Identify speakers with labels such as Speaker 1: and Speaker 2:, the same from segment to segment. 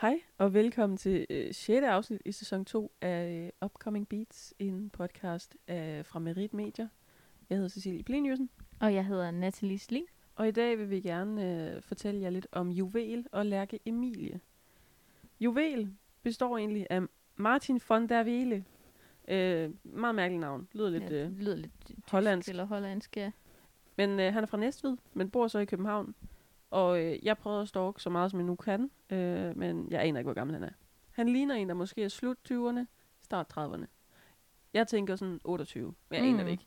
Speaker 1: Hej og velkommen til øh, 6. afsnit i sæson 2 af øh, Upcoming Beats, en podcast af, fra Merit Media. Jeg hedder Cecilie Pleniusen,
Speaker 2: Og jeg hedder Nathalie Sli.
Speaker 1: og i dag vil vi gerne øh, fortælle jer lidt om Juvel og Lærke Emilie. Juvel består egentlig af Martin von der Vele. Øh, meget mærkeligt navn, lyder lidt...
Speaker 2: ja,
Speaker 1: Øh,
Speaker 2: det lyder lidt tysk
Speaker 1: hollandsk.
Speaker 2: Eller hollandsk, ja.
Speaker 1: Men øh, han er fra Næstved, men bor så i København. Og øh, jeg prøvede at stalke så meget, som jeg nu kan, øh, men jeg aner ikke, hvor gammel han er. Han ligner en, der måske er slut 20'erne, start 30'erne. Jeg tænker sådan 28, men jeg mm. aner det
Speaker 2: Mm.
Speaker 1: ikke.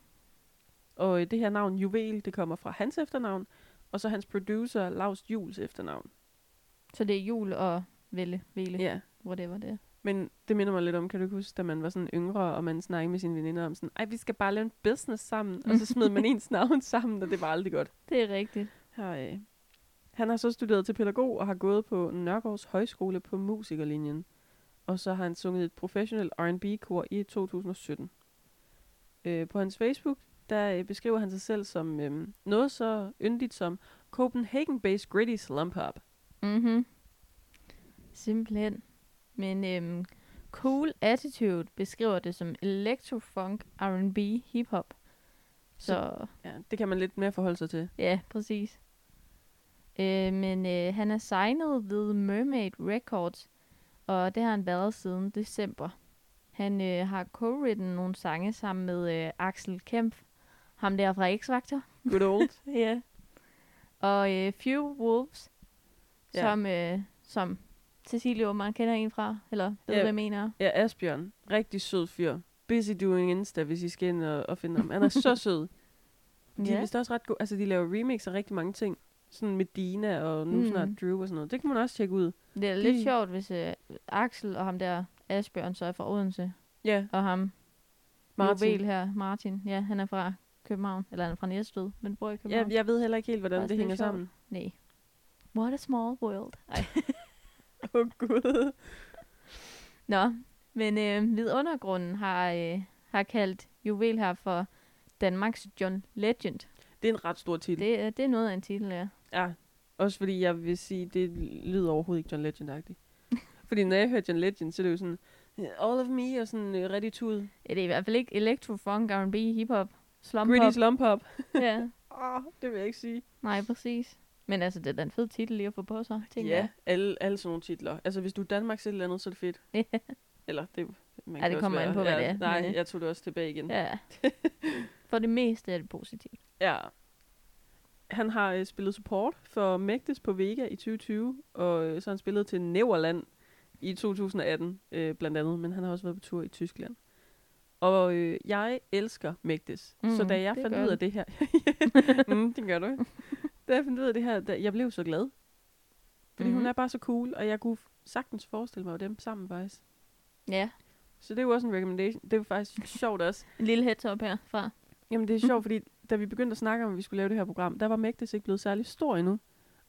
Speaker 1: Og øh, det her navn, Juvel, det kommer fra hans efternavn, og så hans producer, Lars Jules efternavn.
Speaker 2: Så det er jul og Velle, Vele,
Speaker 1: Ja,
Speaker 2: whatever det er.
Speaker 1: men det minder mig lidt om, kan du ikke huske, da man var sådan yngre, og man snakkede med sine veninder om sådan, ej, vi skal bare lave en business sammen, og så smed man ens navn sammen, og det var aldrig godt.
Speaker 2: Det er rigtigt.
Speaker 1: Hej. øh, Han har så studeret til pædagog og har gået på Nørgaards Højskole på musikerlinjen. Og så har han sunget i et professionelt R&B-kor i 2017. Øh, på hans Facebook, der øh, beskriver han sig selv som øh, noget så yndigt som Copenhagen-based gritty slump hop.
Speaker 2: Mhm. Simpelthen. Men øhm, Cool Attitude beskriver det som electrofunk, R&B, hiphop. Så
Speaker 1: Ja, det kan man lidt mere forholde sig til.
Speaker 2: ja, præcis. Øh, men øh, han er signet ved Mermaid Records, og det har han været siden december. Han øh, har co-written nogle sange sammen med øh, Axel Kempf, ham der fra X-Factor.
Speaker 1: Good old.
Speaker 2: Ja. Og øh, Few Wolves,
Speaker 1: Ja.
Speaker 2: ja. som, øh, som Cecilie Åman kender en fra, eller ved,
Speaker 1: Ja.
Speaker 2: ja. hvad jeg mener.
Speaker 1: ja, Asbjørn. Rigtig sød fyr. Busy doing Insta, hvis I skal ind og, og finde ham. Han er så sød. De er
Speaker 2: Ja.
Speaker 1: vist også ret gode. Altså, de laver remix af rigtig mange ting. Sådan med Dina og nu mm.
Speaker 2: Mm.
Speaker 1: snart Drew og sådan noget. Det kan man også tjekke ud.
Speaker 2: Det er lidt
Speaker 1: de-
Speaker 2: sjovt, hvis øh, Axel og ham der Asbjørn så er fra Odense,
Speaker 1: Ja,
Speaker 2: og ham
Speaker 1: Martin.
Speaker 2: Martin. her, Martin, ja, han er fra København, eller han er fra Næstved, men bor i
Speaker 1: Ja,
Speaker 2: København.
Speaker 1: jeg ved heller ikke helt, hvordan
Speaker 2: Også
Speaker 1: det
Speaker 2: lidt
Speaker 1: hænger
Speaker 2: sjovt.
Speaker 1: sammen.
Speaker 2: Nej. What a small world. Ej.
Speaker 1: Åh, oh, gud.
Speaker 2: Nå, men øh, Vidundergrunden har, øh, har kaldt Juvel her for Danmarks John Legend.
Speaker 1: Det er en ret stor titel. Det...
Speaker 2: Det, er- det er noget af en titel, ja.
Speaker 1: Ja, også fordi jeg vil sige, det lyder overhovedet ikke John Legend-agtigt. fordi når jeg hører John Legend, så er det jo sådan, all of me og sådan uh, rigtig tud.
Speaker 2: Ja, det er i hvert fald ikke electro, funk, R&B, hiphop, slump
Speaker 1: Gritty slump hop.
Speaker 2: ja.
Speaker 1: Åh, det vil jeg ikke sige.
Speaker 2: Nej, præcis. Men altså, det er da en fed titel lige at få på sig, tænker
Speaker 1: ja,
Speaker 2: jeg.
Speaker 1: alle, alle sådan nogle titler. Altså, hvis du er Danmarks et eller andet, så er det fedt.
Speaker 2: Ja.
Speaker 1: Eller, det, man
Speaker 2: Ja, det
Speaker 1: kan også
Speaker 2: kommer an
Speaker 1: være-
Speaker 2: på, hvad
Speaker 1: ja,
Speaker 2: det er,
Speaker 1: Nej,
Speaker 2: men, øh,
Speaker 1: jeg tog det også tilbage igen.
Speaker 2: Ja. For det meste er det positivt.
Speaker 1: Ja. Han har øh, spillet support for Mægtes på Vega i 2020, og øh, så har han spillet til Neverland i 2018, øh, blandt andet, men han har også været på tur i Tyskland. Og øh, jeg elsker Mægtes, mm, så
Speaker 2: Mm,
Speaker 1: da jeg
Speaker 2: det
Speaker 1: fandt
Speaker 2: gør
Speaker 1: ud af
Speaker 2: du.
Speaker 1: det her... mm, det gør du. Da jeg fandt ud af det her, da, jeg blev så glad. Fordi mm-hmm. hun
Speaker 2: Mhm.
Speaker 1: er bare så cool, og jeg kunne sagtens forestille mig dem sammen faktisk.
Speaker 2: Ja.
Speaker 1: Så det er jo også en recommendation. Det er jo faktisk sjovt også,
Speaker 2: En lille heads up herfra.
Speaker 1: Jamen
Speaker 2: Mm.
Speaker 1: det er sjovt, fordi da vi begyndte at snakke om, at vi skulle lave det her program, der var Mægtes ikke blevet særlig stor endnu.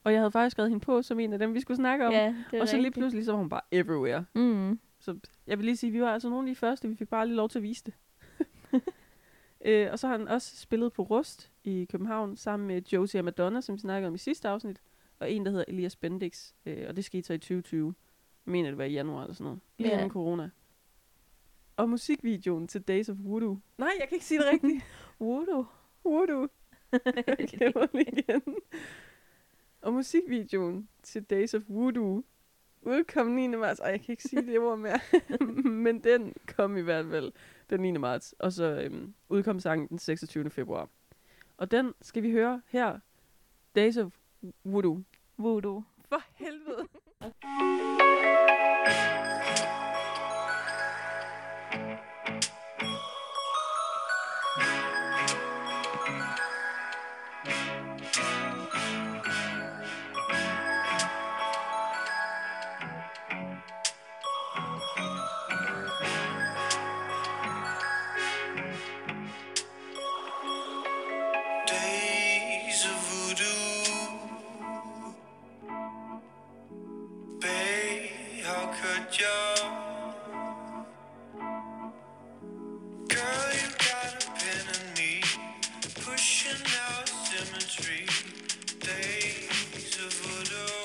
Speaker 1: Og jeg havde faktisk skrevet hende på som en af dem, vi skulle snakke om.
Speaker 2: Ja, det er
Speaker 1: og så lige
Speaker 2: rigtigt.
Speaker 1: pludselig, så var hun bare everywhere.
Speaker 2: Mm.
Speaker 1: Så jeg vil lige sige, at vi var altså nogle af de første, vi fik bare lige lov til at vise det. øh, og så har han også spillet på Rust i København sammen med Josie og Madonna, som vi snakkede om i sidste afsnit, og en, der hedder Elias Bendix, øh, og det skete så i 2020. Jeg mener, det var i januar eller sådan noget. Lige
Speaker 2: Ja.
Speaker 1: yeah. corona. Og musikvideoen til Days of Voodoo. Nej, jeg kan ikke sige det rigtigt.
Speaker 2: Voodoo.
Speaker 1: Voodoo. Okay, hvor er det igen. Og musikvideoen til Days of Voodoo udkom 9. marts. Ej, jeg kan ikke sige det ord mere. Men den kom i hvert fald den 9. marts. Og så øhm, udkom sangen den 26. februar. Og den skal vi høre her. Days of Voodoo.
Speaker 2: Voodoo.
Speaker 1: For helvede.
Speaker 3: Days of voodoo. Babe, how could you? Girl, you got a pin in me, pushing out symmetry. Days of voodoo.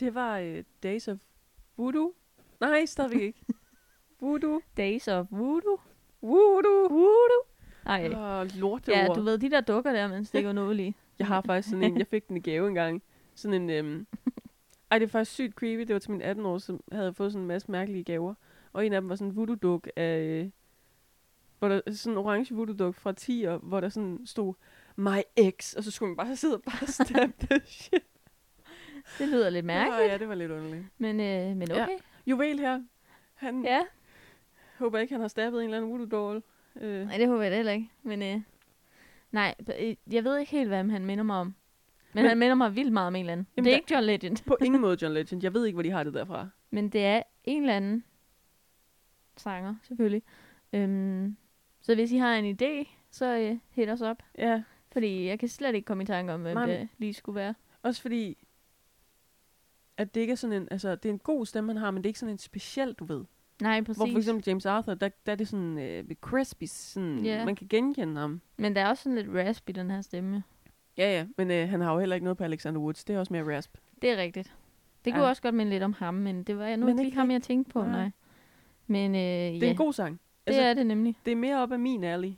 Speaker 1: Det var øh, Days of Voodoo. Nej, stadigvæk ikke. Voodoo.
Speaker 2: Days of Voodoo.
Speaker 1: Voodoo. Voodoo.
Speaker 2: Ej,
Speaker 1: Og lorteord.
Speaker 2: ja, du ved, de der dukker der, man stikker noget i.
Speaker 1: Jeg har faktisk sådan en, jeg fik den i gave engang. Sådan en, øhm... Ej, det er faktisk sygt creepy. Det var til min 18 år, som havde jeg fået sådan en masse mærkelige gaver. Og en af dem var sådan en voodoo-duk af... Øh, hvor der, sådan en orange voodoo-duk fra 10, og hvor der sådan stod, my ex, og så skulle man bare sidde og bare stabbe det shit.
Speaker 2: Det lyder lidt mærkeligt,
Speaker 1: Ja, ja, det var lidt underligt.
Speaker 2: men, øh, men
Speaker 1: Ja.
Speaker 2: okay.
Speaker 1: Juvel her. Han ja.
Speaker 2: Ja,
Speaker 1: håber ikke, han har stabbet en eller anden voodoo-doll. Øh,
Speaker 2: nej, det håber jeg da heller ikke. Men øh, nej, øh, jeg ved ikke helt, hvad han minder mig om. Men, men
Speaker 1: Men-
Speaker 2: han minder mig vildt meget om en eller anden.
Speaker 1: Jamen,
Speaker 2: det er
Speaker 1: der-
Speaker 2: ikke John Legend,
Speaker 1: på ingen måde John Legend. Jeg ved ikke, hvor de har det derfra.
Speaker 2: men det er en eller anden sanger, selvfølgelig. Øhm, så hvis I har en idé, så øh, hit os op.
Speaker 1: Ja,
Speaker 2: Fordi jeg kan slet ikke komme i tanke om, hvem
Speaker 1: Nej, men-
Speaker 2: det lige skulle være.
Speaker 1: Også fordi, at det ikke er sådan en, altså det er en god stemme, han har, men det er ikke sådan en speciel, du ved. Præcis.
Speaker 2: Nej, præcis.
Speaker 1: Hvor for eksempel James Arthur, der, der er det sådan øh, ved crispy, sådan,
Speaker 2: Ja.
Speaker 1: yeah. man kan genkende ham.
Speaker 2: Men der er også sådan lidt rasp i den her stemme.
Speaker 1: Ja, ja, men øh, han har jo heller ikke noget på Alexander Woods, det er også mere rasp.
Speaker 2: Det er rigtigt. Det
Speaker 1: Ja.
Speaker 2: kunne også godt minde lidt om ham, men det var jeg nu
Speaker 1: Men
Speaker 2: ikke
Speaker 1: ikke
Speaker 2: lige ham, jeg tænkte på, nej.
Speaker 1: Nej.
Speaker 2: Men øh,
Speaker 1: Det er
Speaker 2: ja,
Speaker 1: en god sang.
Speaker 2: det
Speaker 1: altså-
Speaker 2: er det nemlig.
Speaker 1: Det er mere op af min alley.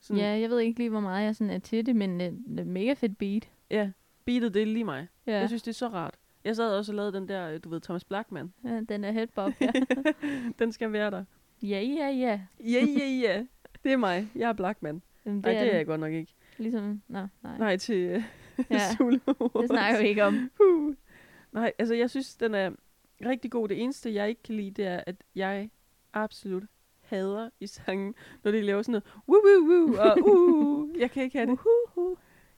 Speaker 1: Sådan,
Speaker 2: Ja, jeg ved ikke lige, hvor meget jeg sådan er til det, men øh, det er mega fedt beat.
Speaker 1: ja. Beatet, det er lige mig. Ja.
Speaker 2: Ja,
Speaker 1: Jeg synes, det er så rart. Jeg sad også og lavede den der, øh, du ved, Thomas Blackman.
Speaker 2: ja den er headbop. Ja.
Speaker 1: Den skal være der.
Speaker 2: ja, ja, ja.
Speaker 1: Ja, ja, ja. Det er mig. Jeg er Blackman.
Speaker 2: Jamen,
Speaker 1: Nej, det er
Speaker 2: den.
Speaker 1: jeg godt nok ikke.
Speaker 2: Ligesom, nå, nej.
Speaker 1: Nej, til øh,
Speaker 2: Ja.
Speaker 1: ja. Zulu.
Speaker 2: Det snakker vi ikke om.
Speaker 1: Puh. Nej, altså jeg synes, den er rigtig god. Det eneste, jeg ikke kan lide, det er, at jeg absolut hader i sangen, når de laver sådan noget woo woo woo og uh, jeg kan ikke have det.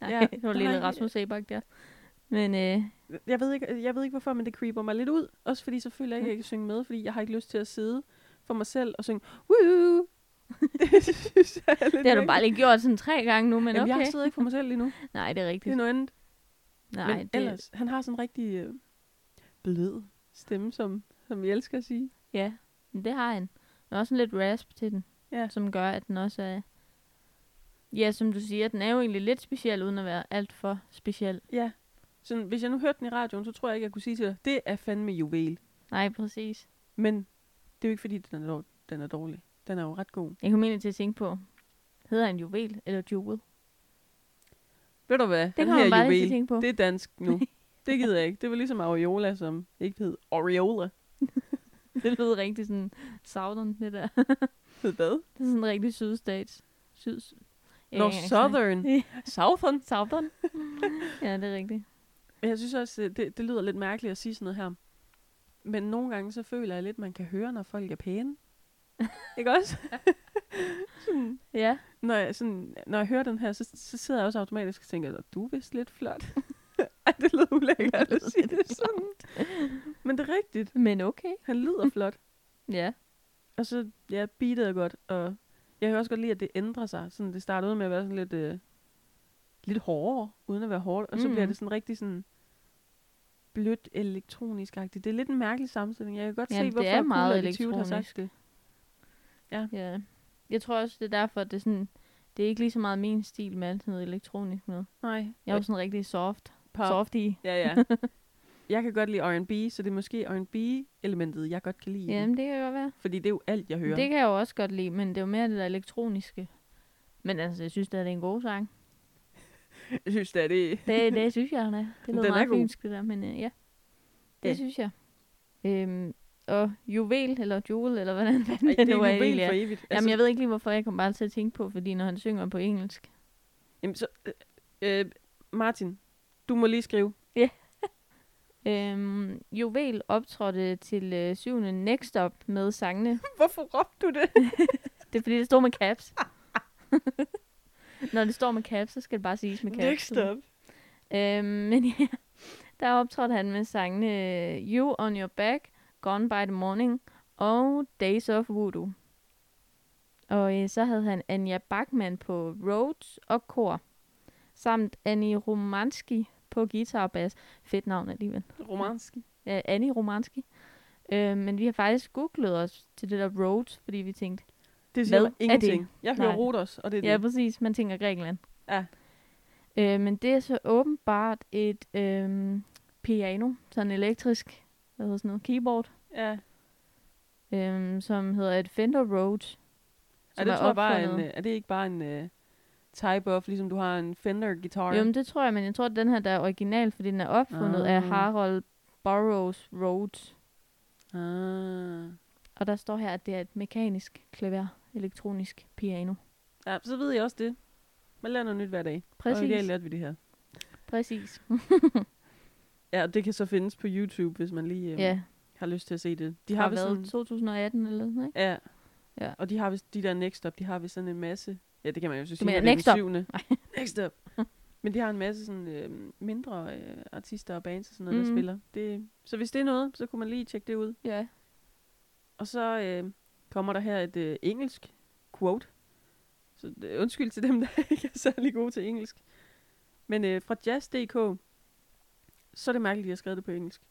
Speaker 2: Nej,
Speaker 1: Ja,
Speaker 2: det var lige lidt
Speaker 1: nej.
Speaker 2: Rasmus Sebak der. Men øh,
Speaker 1: Jeg ved, ikke, jeg ved ikke hvorfor, men det creeper mig lidt ud. Også fordi så føler jeg ikke, at jeg kan synge med, fordi jeg har ikke lyst til at sidde for mig selv og synge woo. Det synes jeg er lidt
Speaker 2: det har du
Speaker 1: mærkeligt.
Speaker 2: bare lige gjort sådan tre gange nu, men
Speaker 1: Jamen,
Speaker 2: okay.
Speaker 1: jeg sidder ikke for mig selv lige nu.
Speaker 2: Nej, det er
Speaker 1: Det er
Speaker 2: rigtigt.
Speaker 1: noget andet.
Speaker 2: Nej,
Speaker 1: men
Speaker 2: det,
Speaker 1: ellers, han har sådan en rigtig øh, blød stemme, som, som jeg elsker at sige.
Speaker 2: Ja, men det har han. Der er også en lidt rasp til den,
Speaker 1: Ja.
Speaker 2: som gør, at den også er... Ja, som du siger, den er jo egentlig lidt speciel, uden at være alt for speciel.
Speaker 1: Ja. Så hvis jeg nu hørte den i radioen, så tror jeg ikke, jeg kunne sige til dig, det er fandme juvel.
Speaker 2: Nej, præcis.
Speaker 1: Men det er jo ikke, fordi den er, dår- den er dårlig. Den er jo ret god.
Speaker 2: Jeg kom egentlig til at tænke på, hedder han juvel eller jewel?
Speaker 1: Ved du hvad?
Speaker 2: Det
Speaker 1: Den
Speaker 2: kommer man
Speaker 1: her
Speaker 2: bare lige til at
Speaker 1: juvel,
Speaker 2: tænke på.
Speaker 1: det er dansk nu. det gider jeg ikke. Det var ligesom Aureola, som ikke hed Aureola.
Speaker 2: det lyder rigtig sådan southern, det der.
Speaker 1: Hed hvad?
Speaker 2: det er sådan rigtig sydstats. Syds... Jeg
Speaker 1: Nå,
Speaker 2: kan ikke engang snakke.
Speaker 1: Southern.
Speaker 2: Ja.
Speaker 1: Southern.
Speaker 2: Southern? ja, det er rigtigt.
Speaker 1: Men jeg synes også, øh, det, det lyder lidt mærkeligt at sige sådan noget her. Men nogle gange, så føler jeg lidt, man kan høre, når folk er pæne. ikke også? sådan,
Speaker 2: Ja,
Speaker 1: når jeg, sådan, når jeg hører den her, så, så sidder jeg også automatisk og tænker, "Nå, du er vist lidt flot. Ej, det lyder ulækkert at sige det sådan. Men det er rigtigt.
Speaker 2: men okay.
Speaker 1: Han lyder flot.
Speaker 2: Ja,
Speaker 1: Og så, ja, beatet er godt. Og jeg kan også godt lide, at det ændrer sig. Sådan, det starter ud med at være sådan lidt, øh, lidt hårdere, uden at være hårdt. Og så
Speaker 2: Mm.
Speaker 1: bliver det sådan rigtig sådan blødt elektronisk -agtigt. Det er lidt en mærkelig sammenstilling. Jeg kan godt
Speaker 2: Jamen,
Speaker 1: se,
Speaker 2: det
Speaker 1: hvorfor
Speaker 2: er meget
Speaker 1: Cool Attitude har
Speaker 2: elektronisk.
Speaker 1: sagt det.
Speaker 2: ja. Jeg tror også, det er derfor, at det er sådan... Det er ikke lige så meget min stil med alt sådan noget elektronisk noget.
Speaker 1: Nej.
Speaker 2: Jeg er jo sådan rigtig soft.
Speaker 1: Øh. Pop.
Speaker 2: Softy.
Speaker 1: Ja, ja. Jeg kan godt lide R&B, så det er måske R&B-elementet, jeg godt kan lide. i den.
Speaker 2: Jamen, det kan godt være.
Speaker 1: Fordi det er jo alt, jeg hører.
Speaker 2: Det kan jeg jo også godt lide, men det er jo mere det der elektroniske. Men altså, jeg synes da, det er en god sang.
Speaker 1: Jeg synes da, det er...
Speaker 2: Det, det synes jeg, den er. Det lyder
Speaker 1: Den er
Speaker 2: meget
Speaker 1: god.
Speaker 2: fynsk, det der, men øh, ja. Det
Speaker 1: Ja.
Speaker 2: synes jeg. Øhm, og juvel, eller jewel, eller hvordan fanden
Speaker 1: Ej,
Speaker 2: det, det
Speaker 1: er
Speaker 2: nu er
Speaker 1: juvel
Speaker 2: egentlig.
Speaker 1: for
Speaker 2: er.
Speaker 1: evigt. Altså,
Speaker 2: Jamen, jeg ved ikke lige, hvorfor jeg kom bare til at tænke på, fordi når han synger på engelsk.
Speaker 1: jamen så, øh, øh, Martin, du må lige skrive.
Speaker 2: Øhm, juvel optrådte til øh, syvende Next Up med sangene.
Speaker 1: Hvorfor råbte du det?
Speaker 2: Det er fordi, det står med caps. når det står med caps, så skal det bare siges med caps.
Speaker 1: Next up.
Speaker 2: Øhm, men ja, der optrådte han med sangene øh, You on Your Back, Gone by the Morning og Days of Voodoo. Og øh, så havde han Anja Bachmann på Rhodes og kor, samt Annie Romanski på guitar og bass. Fedt navn alligevel.
Speaker 1: Romanski.
Speaker 2: Øh, Annie Romanski. Øh, men vi har faktisk googlet os til det der Rhodes, fordi vi tænkte,
Speaker 1: Det siger
Speaker 2: Hvad
Speaker 1: mig
Speaker 2: er
Speaker 1: ingenting. Jeg hører
Speaker 2: Nej.
Speaker 1: Rodos, og det er
Speaker 2: Ja,
Speaker 1: det.
Speaker 2: præcis. Man tænker Grækenland.
Speaker 1: Ja.
Speaker 2: Øh, men det er så åbenbart et øh, piano, sådan elektrisk, hvad hedder sådan noget, keyboard,
Speaker 1: Ja.
Speaker 2: øhm, som hedder et Fender Rhodes.
Speaker 1: Er
Speaker 2: som
Speaker 1: det,
Speaker 2: er
Speaker 1: tror jeg, bare en,
Speaker 2: opfundet-
Speaker 1: øh, er det ikke bare en uh, type of, ligesom du har en Fender guitar?
Speaker 2: Jo, men det tror jeg, men jeg tror, at den her, der er original, fordi den er opfundet
Speaker 1: Ah.
Speaker 2: af Harold Burroughs Rhodes.
Speaker 1: Ah.
Speaker 2: Og der står her, at det er et mekanisk klaver, elektronisk piano.
Speaker 1: Ja, så ved jeg også det. Man lærer noget nyt hver dag. Og i dag
Speaker 2: Præcis,
Speaker 1: lærte vi det her.
Speaker 2: præcis.
Speaker 1: Ja, og det kan så findes på YouTube, hvis man lige øh,
Speaker 2: Ja,
Speaker 1: har lyst til at se det. De
Speaker 2: det
Speaker 1: har
Speaker 2: har
Speaker 1: vist sådan,
Speaker 2: været 2018 eller sådan, ikke?
Speaker 1: ja.
Speaker 2: Ja.
Speaker 1: Og de har vist, de der Next Up, de har vist sådan en masse, ja, det kan man jo så sige,
Speaker 2: mener
Speaker 1: når det er
Speaker 2: Next
Speaker 1: den
Speaker 2: Up?
Speaker 1: syvende. Next Up. Men de har en masse sådan øh, mindre øh, artister og bands og sådan noget, mm. der
Speaker 2: Mhm.
Speaker 1: spiller. Det, så hvis det er noget, så kunne man lige tjekke det ud.
Speaker 2: Ja.
Speaker 1: Og så øh, kommer der her et øh, engelsk quote. Så øh, undskyld til dem, der ikke er særlig gode til engelsk. Men øh, fra jazz.dk, så er det mærkeligt, at de har skrevet det på engelsk.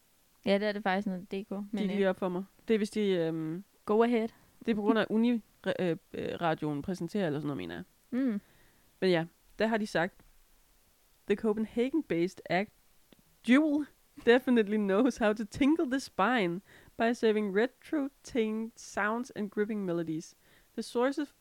Speaker 2: Ja, det er det faktisk noget DK.
Speaker 1: Men,
Speaker 2: Men øh,
Speaker 1: Gik lige op for mig. Det er, hvis de, øh,
Speaker 2: go ahead.
Speaker 1: det er på grund af Uni-radioen præsenterer, eller sådan noget, mener jeg.
Speaker 2: Mm.
Speaker 1: Men ja, der har de sagt, The Copenhagen-based act Jewel definitely knows how to tingle the spine by saving retro-tinged sounds and gripping melodies. The sources,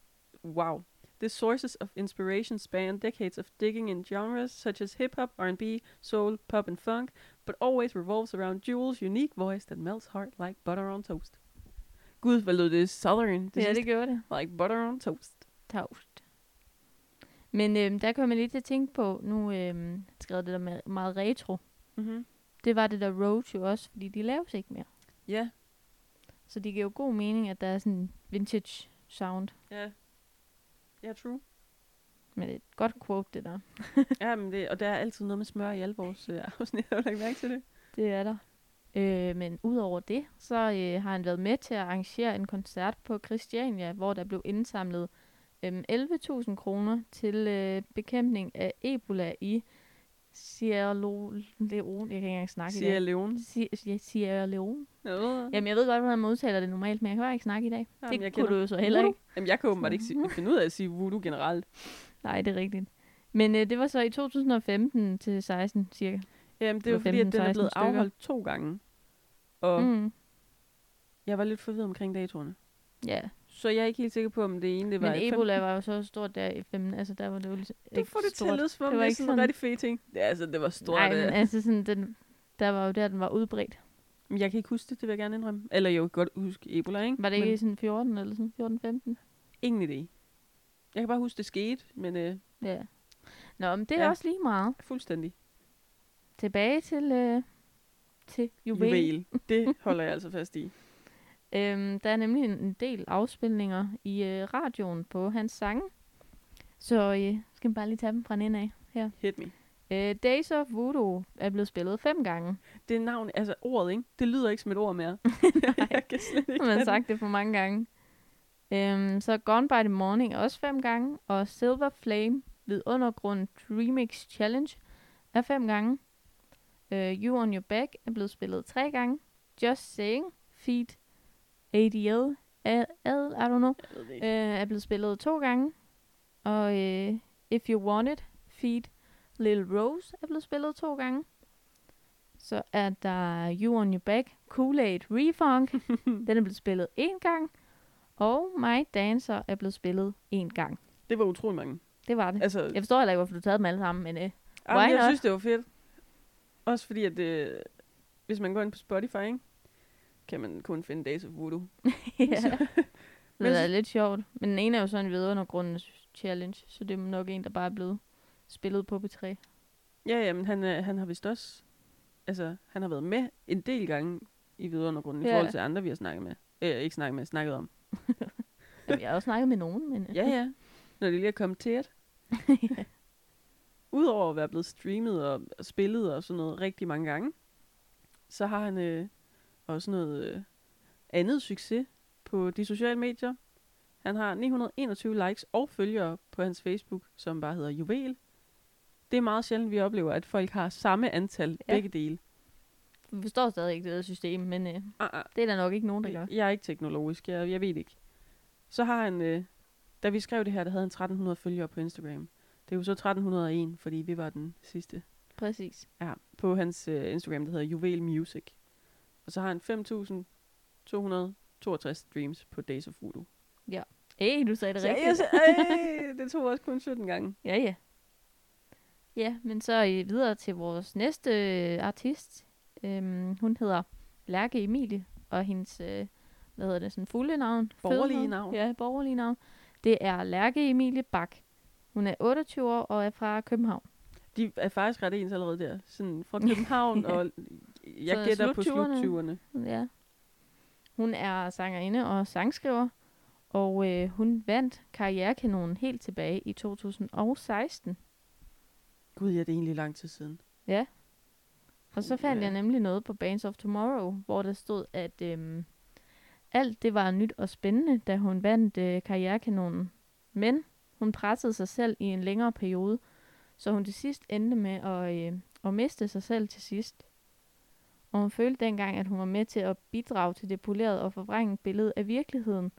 Speaker 1: wow, the sources of inspiration span decades of digging in genres such as hip-hop, R&B, soul, pop and funk, but always revolves around Jewel's unique voice that melts heart like butter on toast. Gud, hvad lød det southern? Det
Speaker 2: ja,
Speaker 1: sidste.
Speaker 2: det gjorde det.
Speaker 1: Like butter on toast.
Speaker 2: Tavst. Men øhm, der kom jeg lige til at tænke på, nu øhm, skrev det der med meget retro.
Speaker 1: Mm-hmm.
Speaker 2: Det var det der Rhodes jo også, fordi de laves ikke mere.
Speaker 1: Ja. Yeah.
Speaker 2: Så det giver jo god mening, at der er sådan en vintage sound.
Speaker 1: Ja. Ja, true.
Speaker 2: Men det er et godt quote, det der.
Speaker 1: ja, men det, og der er altid noget med smør i alle vores øh, afsnit. Har du lagt mærke til det?
Speaker 2: Det er der. Øh, men udover det, så øh, har han været med til at arrangere en koncert på Christiania, hvor der blev indsamlet øhm, 11.000 kroner til øh, bekæmpning af Ebola i Sierra Leone. Jeg kan ikke engang snakke i
Speaker 1: Siger
Speaker 2: dag.
Speaker 1: Leon.
Speaker 2: Si- ja, Sierra Leone.
Speaker 1: Mhm. Jamen,
Speaker 2: Jamen, jeg ved godt, hvordan man udtaler det normalt, men jeg kan bare ikke snakke i dag.
Speaker 1: jeg
Speaker 2: det kunne
Speaker 1: kender-
Speaker 2: du jo så heller ikke.
Speaker 1: Jamen, jeg kan åbenbart ikke sige, finde ud af at sige voodoo generelt.
Speaker 2: Nej, det er rigtigt. Men øh, det var så i 2015 til 16 cirka.
Speaker 1: Jamen, det er jo
Speaker 2: Det var
Speaker 1: fordi, at den er
Speaker 2: 15-16
Speaker 1: blevet
Speaker 2: stykker.
Speaker 1: afholdt to gange. Og mm.
Speaker 2: Mm.
Speaker 1: jeg var lidt forvirret omkring datoerne.
Speaker 2: Ja,
Speaker 1: Så jeg er ikke helt sikker på, om det ene det var
Speaker 2: men
Speaker 1: i
Speaker 2: Ebola var jo så stort der i 15, altså der var det jo ligesom
Speaker 1: Du får det til at lyde, som om
Speaker 2: Det
Speaker 1: det
Speaker 2: var
Speaker 1: er
Speaker 2: ikke
Speaker 1: sådan en
Speaker 2: sådan-
Speaker 1: rigtig fed ting. Ja, altså, det var stort.
Speaker 2: Nej, men
Speaker 1: Nej,
Speaker 2: altså sådan, den, der var jo der, den var udbredt.
Speaker 1: men... Jeg kan ikke huske det, det vil jeg gerne indrømme. Eller jo, jeg kan godt huske Ebola, ikke?
Speaker 2: Var det ikke
Speaker 1: Men
Speaker 2: sådan 14 eller sådan
Speaker 1: ingen idé. Jeg kan bare huske, det skete, men øh,
Speaker 2: 14-15? Ja. Nå, men det er
Speaker 1: Ja.
Speaker 2: ja. også lige meget.
Speaker 1: fuldstændig.
Speaker 2: Tilbage til, øh, til juvel.
Speaker 1: Juvel. Det holder jeg altså fast i.
Speaker 2: Øhm, der er nemlig en, en del afspilninger i øh, radioen på hans sange. Så øh, skal man bare lige tage dem fra en ende af her.
Speaker 1: Hit me.
Speaker 2: Øh, Days of Voodoo er blevet spillet fem gange.
Speaker 1: Det navn, altså ordet, ikke? Det lyder ikke som et ord mere. jeg kan slet ikke
Speaker 2: Nu har
Speaker 1: have
Speaker 2: man
Speaker 1: det.
Speaker 2: sagt det for mange gange. Øhm, så Gone by the Morning er også fem gange, og Silver Flame ved undergrund Remix Challenge er fem gange. Øh, you on Your Back er blevet spillet tre gange. Just Saying, Feet, ADL, AL, I don't know,
Speaker 1: Jeg ved det ikke.
Speaker 2: øh, er blevet spillet to gange. Og øh, If You Want It, Feet, Little Rose er blevet spillet to gange. Så er der You On Your Back, Kool-Aid Refunk. Den er blevet spillet én gang. Og My Dancer er blevet spillet én gang.
Speaker 1: Det var utrolig mange.
Speaker 2: Det var det.
Speaker 1: Altså,
Speaker 2: Jeg forstår heller ikke, hvorfor du tager dem alle sammen, men øh,
Speaker 1: jamen,
Speaker 2: why
Speaker 1: jeg
Speaker 2: not?
Speaker 1: synes, det var fedt. Også fordi, at øh, hvis man går ind på Spotify, ikke? kan man kun finde Days of Voodoo.
Speaker 2: ja.
Speaker 1: Men
Speaker 2: det
Speaker 1: så-
Speaker 2: er lidt sjovt. Men den ene er jo sådan en vidundergrundens challenge, så det er nok en, der bare er blevet spillet på P3.
Speaker 1: Ja, ja, men han, øh, han har vist også... Altså, han har været med en del gange i Vidundergrunden, ja. i
Speaker 2: Ja.
Speaker 1: forhold til andre, vi har snakket med. Øh, ikke snakket med, snakket om.
Speaker 2: Jamen, jeg har også snakket med nogen, men... øh,
Speaker 1: Ja, ja. Når det lige er kommet til at. Udover at være blevet streamet og og spillet og sådan noget rigtig mange gange, så har han øh, også noget øh, andet succes på de sociale medier. Han har 921 likes og følgere på hans Facebook, som bare hedder Juvel. Det er meget sjældent, vi oplever, at folk har samme antal ja.
Speaker 2: Ja.
Speaker 1: begge dele.
Speaker 2: Vi forstår stadig ikke det der system, men øh,
Speaker 1: Ah, ah,
Speaker 2: det er der nok ikke nogen, der gør.
Speaker 1: jeg er ikke teknologisk, jeg, jeg ved det ikke. Så har han, øh, da vi skrev det her, der havde han 1300 følgere på Instagram. Det er jo så 1301, fordi vi var den sidste.
Speaker 2: Præcis.
Speaker 1: Ja, på hans øh, Instagram, der hedder Juvel Music. Og så har han 5.262 streams på Days of Voodoo.
Speaker 2: Ej, du sagde det
Speaker 1: Så
Speaker 2: rigtigt.
Speaker 1: jeg sagde, "Ej, det tog også kun 17 gange.
Speaker 2: Ja, ja. Ja, men så øh, videre til vores næste øh, artist. Øhm, hun hedder Lærke Emilie, og hendes, øh, hvad hedder det, sådan fulde navn?
Speaker 1: Borgerlige
Speaker 2: fødenavn?
Speaker 1: navn.
Speaker 2: Ja, borgerlige navn. Det er Lærke Emilie Bak. Hun er 28 år og er fra København.
Speaker 1: De er faktisk ret ens allerede der. Sådan fra København,
Speaker 2: Ja.
Speaker 1: og jeg
Speaker 2: Så
Speaker 1: gætter på
Speaker 2: sluttyverne.
Speaker 1: sluttyverne.
Speaker 2: Ja. Hun er sangerinde og sangskriver, og øh, hun vandt karrierekanonen helt tilbage i 2016.
Speaker 1: Gud, ja, det er egentlig lang tid siden.
Speaker 2: Og så fandt
Speaker 1: Ja.
Speaker 2: jeg nemlig noget på Bands of Tomorrow, hvor der stod, at øhm, alt det var nyt og spændende, da hun vandt øh, karrierekanonen. Men hun pressede sig selv i en længere periode, så hun til sidst endte med at, øh, at miste sig selv til sidst. Og hun følte dengang, at hun var med til at bidrage til det polerede og forvrænget billede af virkeligheden,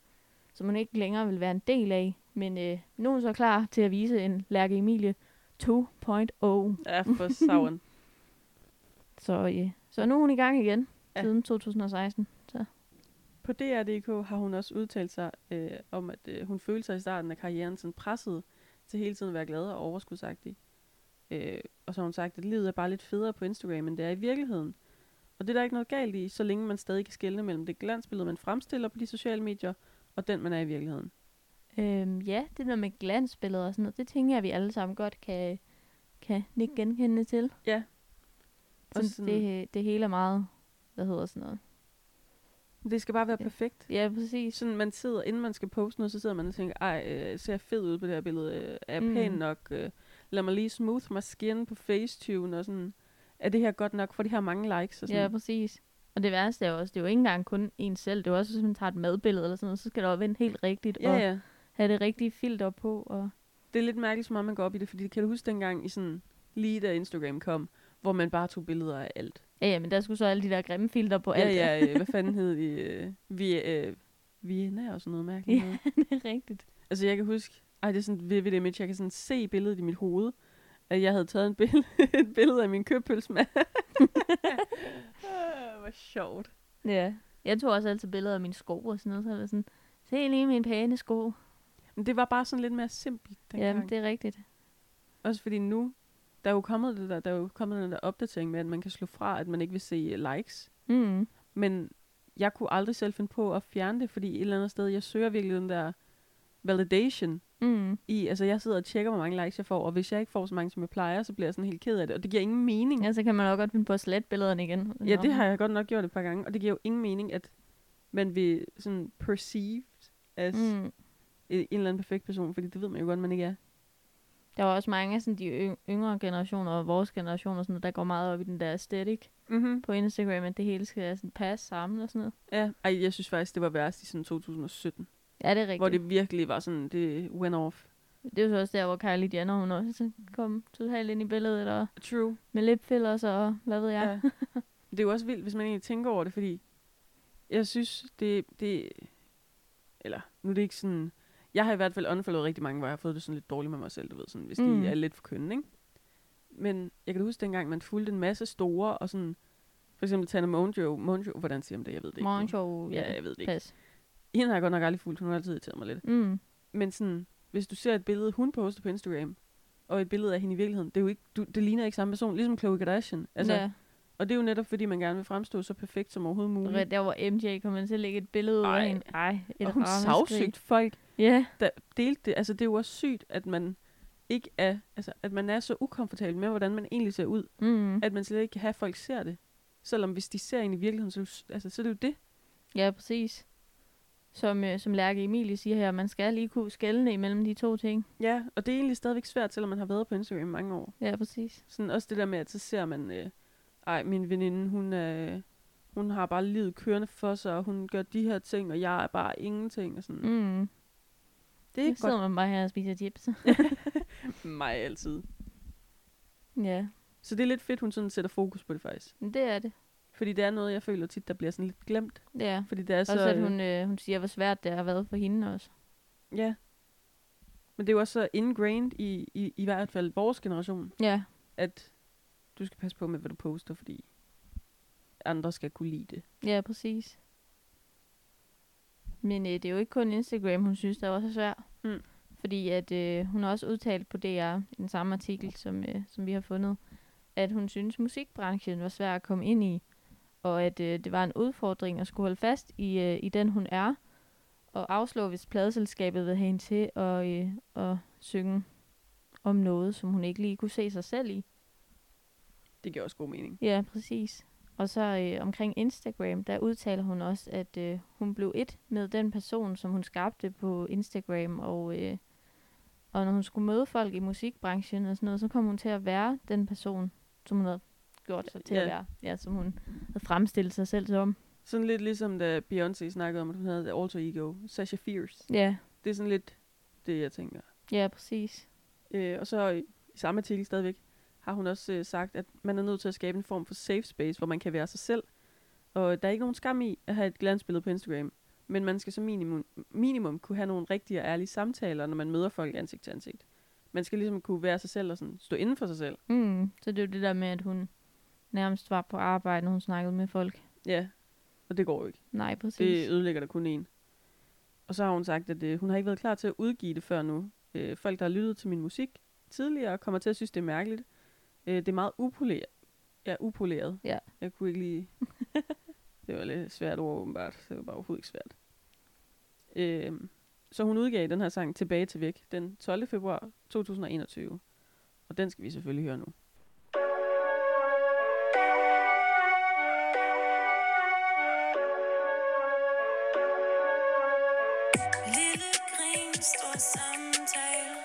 Speaker 2: som hun ikke længere ville være en del af. Men øh, nu er hun så klar til at vise en Lærke Emilie oh. 2.0.
Speaker 1: Ja, for savren.
Speaker 2: Så, øh, så nu er hun i gang igen,
Speaker 1: Ja.
Speaker 2: ja. siden 2016.
Speaker 1: På DR.dk har hun også udtalt sig øh, om, at øh, hun følte sig i starten af karrieren sådan presset til hele tiden at være glad og overskudsagtig. Øh, og så har hun sagt, at livet er bare lidt federe på Instagram, end det er i virkeligheden. Og det er der ikke noget galt i, så længe man stadig kan skelne mellem det glansbillede, man fremstiller på de sociale medier, og den, man er i virkeligheden.
Speaker 2: Øhm, ja, det der med glansbilleder og sådan noget, det tænker jeg, vi alle sammen godt kan, kan
Speaker 1: Mm.
Speaker 2: ikke genkende til.
Speaker 1: Ja. Og
Speaker 2: Sådan, sådan... Det, det hele er meget, hvad hedder sådan noget.
Speaker 1: det skal bare være
Speaker 2: Ja.
Speaker 1: perfekt.
Speaker 2: Ja, præcis.
Speaker 1: Sådan, man sidder, inden man skal poste noget, så sidder man og tænker, ej, øh, ser jeg fed ud på det her billede? Øh, er jeg mm.
Speaker 2: Mm.
Speaker 1: pæn nok? Øh, lad mig lige smooth mig skin på Facetune og sådan. Er det her godt nok? For de her mange likes og sådan.
Speaker 2: Ja, præcis. Og det værste er jo også, det er jo ikke engang kun en selv. Det er jo også, hvis man tager et madbillede eller sådan noget, så skal det jo vende helt rigtigt
Speaker 1: ja,
Speaker 2: og
Speaker 1: ja.
Speaker 2: have det rigtige filter på. Og...
Speaker 1: Det er lidt mærkeligt, så meget man går op i det, fordi kan du huske dengang i sådan, lige da Instagram kom, hvor man bare tog billeder af alt.
Speaker 2: Ja, ja, men der skulle så alle de der grimme filter på alt.
Speaker 1: Ja, ja, øh, hvad fanden hed de? Øh, vi, øh, Vienna og sådan noget mærkeligt.
Speaker 2: Ja.
Speaker 1: noget.
Speaker 2: det er rigtigt.
Speaker 1: Altså, jeg kan huske, ej, det er sådan et vivid image, jeg kan sådan se billedet i mit hoved, at jeg havde taget en bill- et billede af min købpølsmand. ah, hvor sjovt.
Speaker 2: Ja. Jeg tog også altid billeder af mine sko og sådan noget, så jeg var sådan, se lige mine pæne sko.
Speaker 1: Men det var bare sådan lidt mere simpelt dengang.
Speaker 2: Jamen,
Speaker 1: Jamen, det...
Speaker 2: det er rigtigt.
Speaker 1: Også fordi nu, der er jo kommet det der, der er jo kommet den der opdatering med, at man kan slå fra, at man ikke vil se øh, likes.
Speaker 2: Mm.
Speaker 1: Men jeg kunne aldrig selv finde på at fjerne det, fordi et eller andet sted, jeg søger virkelig den der validation
Speaker 2: Mm.
Speaker 1: i, altså jeg sidder og tjekker, hvor mange likes jeg får, og hvis jeg ikke får så mange, som jeg plejer, så bliver jeg sådan helt ked af det, og det giver ingen mening.
Speaker 2: Ja, så kan man også godt finde på at slette billederne igen.
Speaker 1: Ja, det har jeg godt nok gjort et par gange, og det giver jo ingen mening, at man vil sådan perceived as mm.
Speaker 2: Mm.
Speaker 1: en eller anden perfekt person, fordi det ved man jo godt, man ikke er.
Speaker 2: Der var også mange af sådan, de yng- yngre generationer og vores generation og sådan noget, der går meget op i den der æstetik
Speaker 1: Mm-hmm.
Speaker 2: på Instagram, at det hele skal være sådan passe sammen og sådan noget.
Speaker 1: Ja, ej, jeg synes faktisk, det var værst i sådan 2017, Rigtigt.
Speaker 2: Ja, det er rigtigt.
Speaker 1: hvor det virkelig var sådan, det went off.
Speaker 2: det er jo så også der, hvor Kylie Jenner, hun også så kom totalt ind i billedet, eller
Speaker 1: True.
Speaker 2: med lipfillers og hvad ved jeg.
Speaker 1: Ja. det er jo også vildt, hvis man egentlig tænker over det, fordi jeg synes, det, det eller nu er det ikke sådan, jeg har i hvert fald unfollowet rigtig mange, hvor jeg har fået det sådan lidt dårligt med mig selv, du ved, sådan, hvis mm.
Speaker 2: Mm.
Speaker 1: de er lidt for kønne, ikke? Men jeg kan da huske dengang, man fulgte en masse store, og sådan, for eksempel Tana Monjo, Monjo, hvordan siger man det, jeg ved det ikke. nu.
Speaker 2: Morgenshow,
Speaker 1: Ja, jeg ved det ikke.
Speaker 2: pas.
Speaker 1: Hende har jeg godt nok aldrig fulgt, hun har altid irriteret mig lidt.
Speaker 2: Mm.
Speaker 1: Men sådan, hvis du ser et billede, hun poster på Instagram, og et billede af hende i virkeligheden, det, er jo ikke, du, det ligner ikke samme person, ligesom Khloe Kardashian. Altså,
Speaker 2: ja.
Speaker 1: Og det er jo netop, fordi man gerne vil fremstå så perfekt som overhovedet muligt.
Speaker 2: Red, der hvor MJ kom ind til at lægge et billede ud
Speaker 1: Ej.
Speaker 2: af hende. Ej, et
Speaker 1: og hun
Speaker 2: ramaskrig.
Speaker 1: sagsøgte folk,
Speaker 2: Ja,
Speaker 1: der delte det. Altså, det er jo også sygt, at man ikke er, altså, at man er så ukomfortabel med, hvordan man egentlig ser ud,
Speaker 2: mm.
Speaker 1: at man slet ikke kan have, at folk ser det. Selvom hvis de ser en i virkeligheden, så, er det jo s- altså, så er det jo det.
Speaker 2: ja præcis. Som, øh, som Lærke Emilie siger her, man skal lige kunne skelne imellem de to ting.
Speaker 1: Ja, og det er egentlig stadigvæk svært, selvom man har været på Instagram i mange år.
Speaker 2: Ja, præcis.
Speaker 1: Sådan også det der med, at så ser man, øh, ej, min veninde, hun, øh, hun har bare livet kørende for sig, og hun gør de her ting, og jeg er bare ingenting. Og sådan. Mm.
Speaker 2: Mm.
Speaker 1: Det er
Speaker 2: Nu
Speaker 1: ikke godt.
Speaker 2: sidder man bare her og spiser chips.
Speaker 1: Mig altid.
Speaker 2: ja,
Speaker 1: Så det er lidt fedt, hun sådan sætter fokus på det faktisk.
Speaker 2: men det er det.
Speaker 1: Fordi det er noget, jeg føler tit, der bliver sådan lidt glemt.
Speaker 2: Ja.
Speaker 1: Fordi det er
Speaker 2: Og
Speaker 1: så...
Speaker 2: så at
Speaker 1: øh,
Speaker 2: hun, øh, hun siger, hvor svært det har været for hende også.
Speaker 1: Ja. Men det er jo også så ingrained i, i, i hvert fald vores generation,
Speaker 2: Ja,
Speaker 1: at du skal passe på med, hvad du poster, fordi andre skal kunne lide det.
Speaker 2: Ja, præcis. Men øh, det er jo ikke kun Instagram, hun synes, der var så svært.
Speaker 1: Mm.
Speaker 2: Fordi at øh, hun har også udtalt på DR, i den samme artikel, som, øh, som vi har fundet, at hun synes, musikbranchen var svær at komme ind i. Og at øh, det var en udfordring at skulle holde fast i, øh, i den, hun er. Og afslå, hvis pladeselskabet vil have hende til at, øh, at synge om noget, som hun ikke lige kunne se sig selv i.
Speaker 1: Det giver også god mening.
Speaker 2: Ja, præcis. Og så øh, omkring Instagram, der udtaler hun også, at øh, hun blev et med den person, som hun skabte på Instagram. Og, øh, og når hun skulle møde folk i musikbranchen og sådan noget, så kom hun til at være den person, som hun havde gjort sig til
Speaker 1: Ja.
Speaker 2: at være. Ja, som hun havde fremstillet sig selv som.
Speaker 1: Sådan lidt ligesom da Beyoncé snakkede om, at hun havde et alter ego. Sasha Fierce.
Speaker 2: Ja,
Speaker 1: Det er sådan lidt det, jeg tænker.
Speaker 2: ja præcis.
Speaker 1: Øh, og så i i samme artikel stadigvæk har hun også øh, sagt, at man er nødt til at skabe en form for safe space, hvor man kan være sig selv. Og der er ikke nogen skam i at have et glansbillede på Instagram. Men man skal som minimum, minimum kunne have nogle rigtige og ærlige samtaler, når man møder folk ansigt til ansigt. Man skal ligesom kunne være sig selv og sådan stå inden for sig selv.
Speaker 2: Mm, så det er jo det der med, at hun nærmest var på arbejde, når hun snakkede med folk.
Speaker 1: Ja, og det går jo ikke.
Speaker 2: Nej, præcis.
Speaker 1: Det ødelægger der kun en. Og så har hun sagt, at øh, hun har ikke været klar til at udgive det før nu. Øh, folk, der har lyttet til min musik tidligere, kommer til at synes, det er mærkeligt. Øh, det er meget upoleret. Ja, upoleret.
Speaker 2: Ja.
Speaker 1: Jeg kunne ikke lige... det var lidt svært ord, åbenbart. Det var bare overhovedet ikke svært. Øh, så hun udgav den her sang Tilbage til Væk den 12. februar 2021. Og den skal vi selvfølgelig høre nu.
Speaker 3: Lille grin, stor samtale.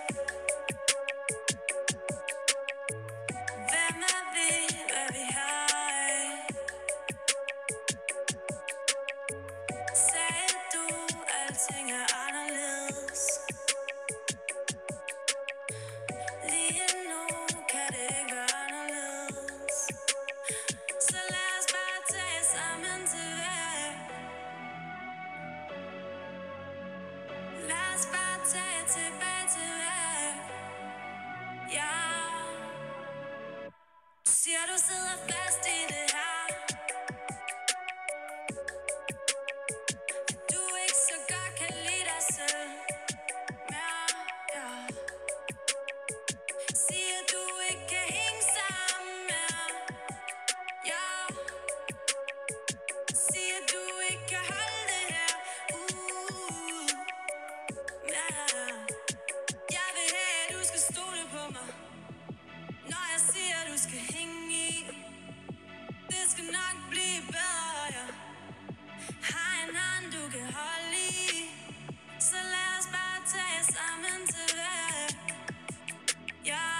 Speaker 3: Hvem er vi, hvad vi har af? Sagde du, alting er anderledes? Lige nu kan det ikke være anderledes. Så lad os bare tage sammen tilbage. Lad os bare tage tilbage til vand. Ja. Siger du sidder fast i det her Du ikke så godt kan lide dig selv mere, ja. Siger du ikke kan hænge sammen mere, ja. Siger du ikke kan holde det her ud? Ja. Jeg vil have, at du skal stole på mig Når jeg siger, at du skal hænge i Det skal nok blive bedre, ja Har en hånd, du kan holde i Så lad os bare tage sammen tilbage Ja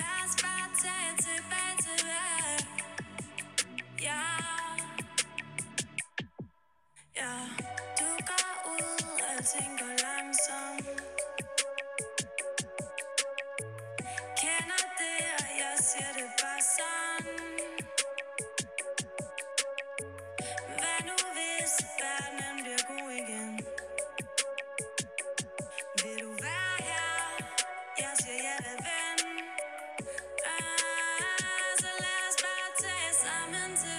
Speaker 3: Lad os bare tage tilbage tilbage Ja. Ja. Du går ud, alting går langsomt. Kender det, og jeg siger det bare sådan. Hvad nu hvis verdenen bliver god igen? Vil du være her? Jeg siger ja, da ven. Ah, Så lad os bare tage sammen tilbage.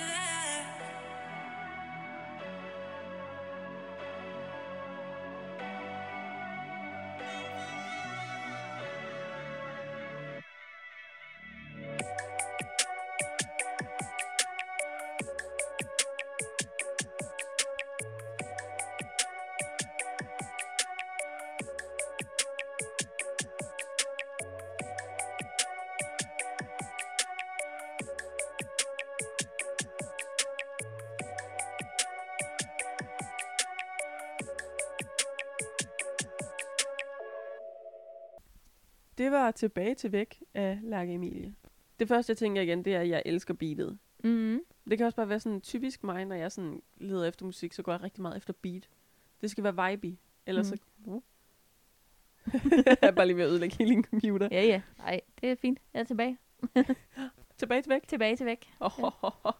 Speaker 1: Det var Tilbage til Væk af Lærke Emilie. Det første, jeg tænker igen, det er, at jeg elsker beatet.
Speaker 2: Mm,
Speaker 1: Det kan også bare være sådan typisk mig, når jeg sådan leder efter musik, så går jeg rigtig meget efter beat. Det skal være vibey, ellers mm.
Speaker 2: Mm.
Speaker 1: så... Uh. jeg er bare lige ved at ødelægge hele min computer.
Speaker 2: Ja, ja. Ej, det er fint. Jeg er tilbage.
Speaker 1: Tilbage til væk.
Speaker 2: Tilbage til væk.
Speaker 1: Oh,
Speaker 2: Ja.
Speaker 1: oh, oh.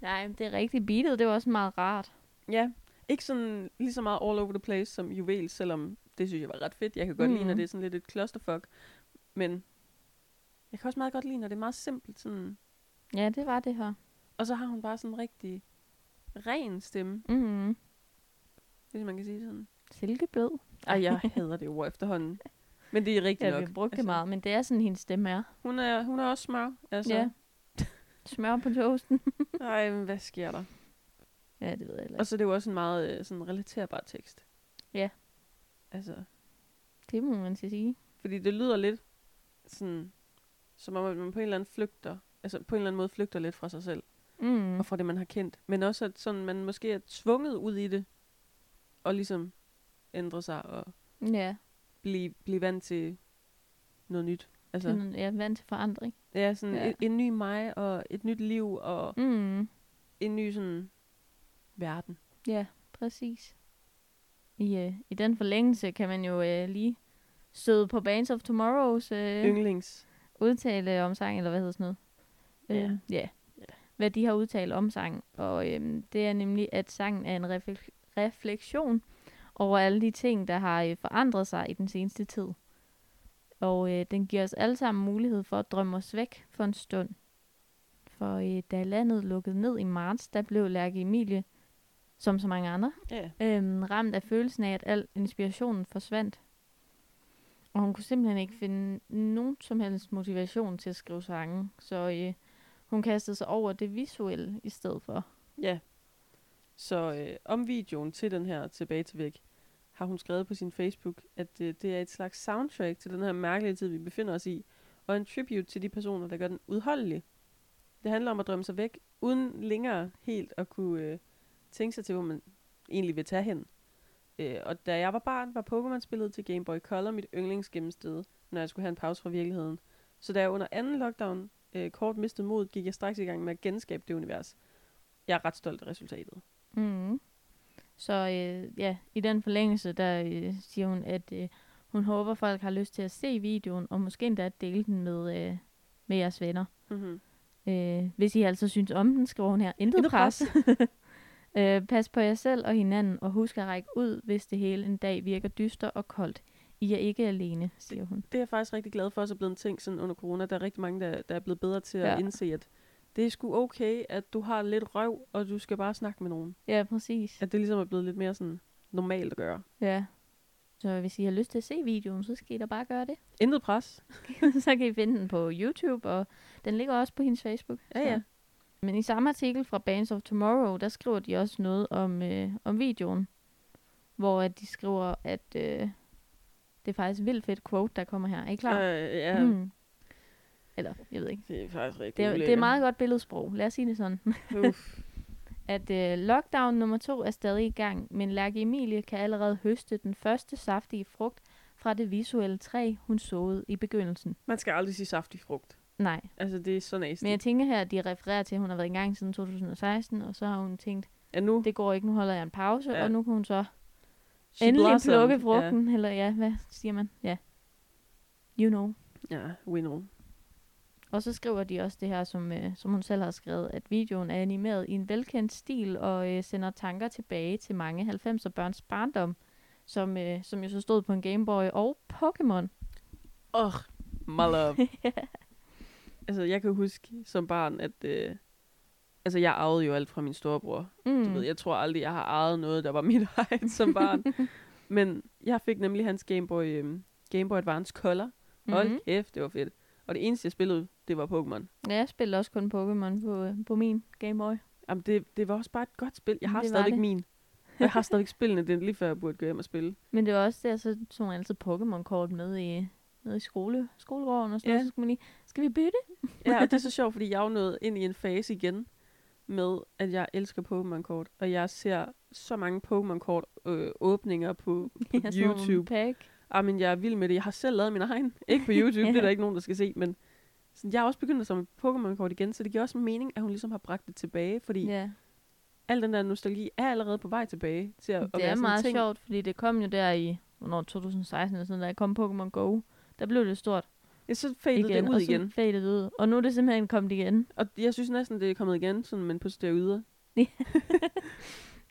Speaker 2: Nej, men det er rigtigt. Beatet, det var også meget rart.
Speaker 1: Ja, ikke sådan lige så meget all over the place som Juvel, selvom det synes jeg var ret fedt. Jeg kan godt mm. lide,
Speaker 2: Mhm.
Speaker 1: når det er sådan lidt et clusterfuck. Men Jeg kan også meget godt lide, når det er meget simpelt. Sådan.
Speaker 2: Ja, det var det her.
Speaker 1: Og så har hun bare sådan en rigtig ren stemme,
Speaker 2: Mm-hmm.
Speaker 1: hvis man kan sige det sådan.
Speaker 2: Silkeblød.
Speaker 1: Ej, jeg hader det ord efterhånden. Men det er rigtigt
Speaker 2: Ja, vi
Speaker 1: nok. Altså,
Speaker 2: har brugt det meget, men det er sådan, hendes stemme er.
Speaker 1: Hun er, hun er også smør. Altså.
Speaker 2: Ja. Smør på toasten.
Speaker 1: Ej, men hvad sker der?
Speaker 2: ja, det ved jeg heller
Speaker 1: Og
Speaker 2: ikke.
Speaker 1: så er det jo også en meget øh, sådan relaterbar tekst.
Speaker 2: Ja.
Speaker 1: Altså,
Speaker 2: Det må man sige.
Speaker 1: fordi det lyder lidt sådan, som om at man på en eller anden flygter, altså på en eller anden måde flygter lidt fra sig selv,
Speaker 2: Mm.
Speaker 1: og fra det, man har kendt. Men også, at sådan, man måske er tvunget ud i det, og ligesom ændre sig og
Speaker 2: Ja,
Speaker 1: blive, blive vant til noget nyt.
Speaker 2: så.
Speaker 1: Altså,
Speaker 2: jeg er vant til forandring.
Speaker 1: ja, sådan
Speaker 2: Mm. Ja.
Speaker 1: ja. En, en ny mig, og et nyt liv, og
Speaker 2: Mm.
Speaker 1: en ny sådan verden.
Speaker 2: Ja, præcis. I, øh, I den forlængelse kan man jo øh, lige støde på Bands of Tomorrows øh,
Speaker 1: Yndlings.
Speaker 2: udtale om sang, eller hvad hedder sådan noget?
Speaker 1: Ja.
Speaker 2: Øh, ja. Hvad de har udtalt om sang. Og øhm, det er nemlig, at sangen er en reflek- refleksion over alle de ting, der har øh, forandret sig i den seneste tid. Og øh, den giver os alle sammen mulighed for at drømme os væk for en stund. For øh, da landet lukkede ned i marts, der blev Lærke Emilie, som så mange andre,
Speaker 1: Ja.
Speaker 2: øhm, ramt af følelsen af, at al inspirationen forsvandt. Og hun kunne simpelthen ikke finde nogen som helst motivation til at skrive sange, så øh, hun kastede sig over det visuelle i stedet for.
Speaker 1: Ja. Så øh, om videoen til den her Tilbage til Væk, har hun skrevet på sin Facebook, at øh, det er et slags soundtrack til den her mærkelige tid, vi befinder os i, og en tribute til de personer, der gør den udholdelig. Det handler om at drømme sig væk, uden længere helt at kunne øh, tænke sig til, hvor man egentlig vil tage hen. Øh, og da jeg var barn, var Pokémon-spillet til Game Boy Color mit yndlingsgennemsted, når jeg skulle have en pause fra virkeligheden. Så da jeg under anden lockdown øh, kort mistede modet, gik jeg straks i gang med at genskabe det univers. Jeg er ret stolt af resultatet.
Speaker 2: Mm. Så øh, ja, i den forlængelse, der øh, siger hun, at øh, hun håber, folk har lyst til at se videoen, og måske endda at dele den med, øh, med jeres venner.
Speaker 1: Mm-hmm.
Speaker 2: Øh, hvis I altså synes om den, skriver hun her, intet
Speaker 1: Intet
Speaker 2: pres. øh, pas på jer selv og hinanden, og husk at række ud, hvis det hele en dag virker dyster og koldt. I er ikke alene, siger hun.
Speaker 1: Det er jeg faktisk rigtig glad for, også er blevet en ting sådan under corona. Der er rigtig mange, der, der er blevet bedre til ja.
Speaker 2: Ja.
Speaker 1: at indse, at det er sgu okay, at du har lidt røv, og du skal bare snakke med nogen.
Speaker 2: Ja, præcis.
Speaker 1: At det ligesom er blevet lidt mere sådan normalt at gøre.
Speaker 2: Ja. Så hvis I har lyst til at se videoen, så skal I da bare gøre det.
Speaker 1: Intet pres.
Speaker 2: så kan I finde den på YouTube, og den ligger også på hendes Facebook.
Speaker 1: Ja,
Speaker 2: så.
Speaker 1: ja.
Speaker 2: Men i samme artikel fra Bands of Tomorrow, der skriver de også noget om, øh, om videoen. Hvor at de skriver, at øh, det er faktisk et vildt fedt quote, der kommer her. Er I klar?
Speaker 1: Øh, ja, mm.
Speaker 2: Mm. Eller, jeg ved ikke.
Speaker 1: det er faktisk rigtig
Speaker 2: Det er, det er meget godt billedsprog. Lad os sige det sådan.
Speaker 1: Uff.
Speaker 2: At øh, lockdown nummer to er stadig i gang, men Lærke Emilie kan allerede høste den første saftige frugt fra det visuelle træ, hun såede i begyndelsen.
Speaker 1: Man skal aldrig sige saftig frugt.
Speaker 2: Nej,
Speaker 1: Altså, det er så nasty.
Speaker 2: men jeg tænker her, at de refererer til, at hun har været i gang siden 2016, og så har hun tænkt,
Speaker 1: ja, nu,
Speaker 2: det går ikke, nu holder jeg en pause,
Speaker 1: Ja.
Speaker 2: ja. og nu kan hun så
Speaker 1: she
Speaker 2: endelig
Speaker 1: blossomed.
Speaker 2: plukke frugten, ja. eller ja, hvad siger man? Ja, you know.
Speaker 1: Ja, ja we know.
Speaker 2: Og så skriver de også det her, som, øh, som hun selv har skrevet, at videoen er animeret i en velkendt stil og øh, sender tanker tilbage til mange 90'er børns barndom, som, øh, som jo så stod på en Game Boy og Pokémon.
Speaker 1: Oh, my love. Altså, jeg kan huske som barn, at... Øh, altså, jeg arvede jo alt fra min storebror.
Speaker 2: Mm.
Speaker 1: Du ved, jeg tror aldrig, jeg har ejet noget, der var mit eget som barn. Men jeg fik nemlig hans Game Boy, øhm, Game Boy Advance Color. Hold
Speaker 2: Mhm.
Speaker 1: kæft, det var fedt. Og det eneste, jeg spillede, det var Pokémon.
Speaker 2: Ja, jeg spillede også kun Pokémon på, øh, på min Game Boy.
Speaker 1: Jamen, det, det var også bare et godt spil. Jeg har
Speaker 2: Det var
Speaker 1: stadigvæk
Speaker 2: det.
Speaker 1: min. Og jeg har stadigvæk spillene. Det er lige før, jeg burde gå hjem og spille.
Speaker 2: Men det var også der, så tog man altid Pokémon-kort med i, med i skole, skolegården og sådan
Speaker 1: Ja.
Speaker 2: ja. noget. Så skulle man lige, skal vi bytte?
Speaker 1: Ja, og det er så sjovt, fordi jeg er jo nået ind i en fase igen med, at jeg elsker Pokémon-kort. Og jeg ser så mange Pokémon-kort øh, åbninger på, på
Speaker 2: Ja, sådan nogle
Speaker 1: YouTube.
Speaker 2: Pack.
Speaker 1: Ah, men jeg er vild med det. Jeg har selv lavet min egen. Ikke på YouTube, det er der ikke nogen, der skal se, men sådan, jeg er også begyndt at samle Pokémon-kort igen, så det giver også mening, at hun ligesom har bragt det tilbage, fordi ja.
Speaker 2: Ja.
Speaker 1: al den der nostalgi er allerede på vej tilbage til at, at
Speaker 2: Det
Speaker 1: være
Speaker 2: er
Speaker 1: sådan en
Speaker 2: meget
Speaker 1: ting.
Speaker 2: sjovt, fordi det kom jo der i, hvornår 2016 eller sådan, noget, der kom Pokémon Go. Der blev det stort
Speaker 1: Ja, så fadede
Speaker 2: igen,
Speaker 1: det ud
Speaker 2: og så
Speaker 1: igen.
Speaker 2: faded det ud. Og nu er det simpelthen kommet igen.
Speaker 1: Og jeg synes næsten, det er kommet igen, sådan, men på steroider.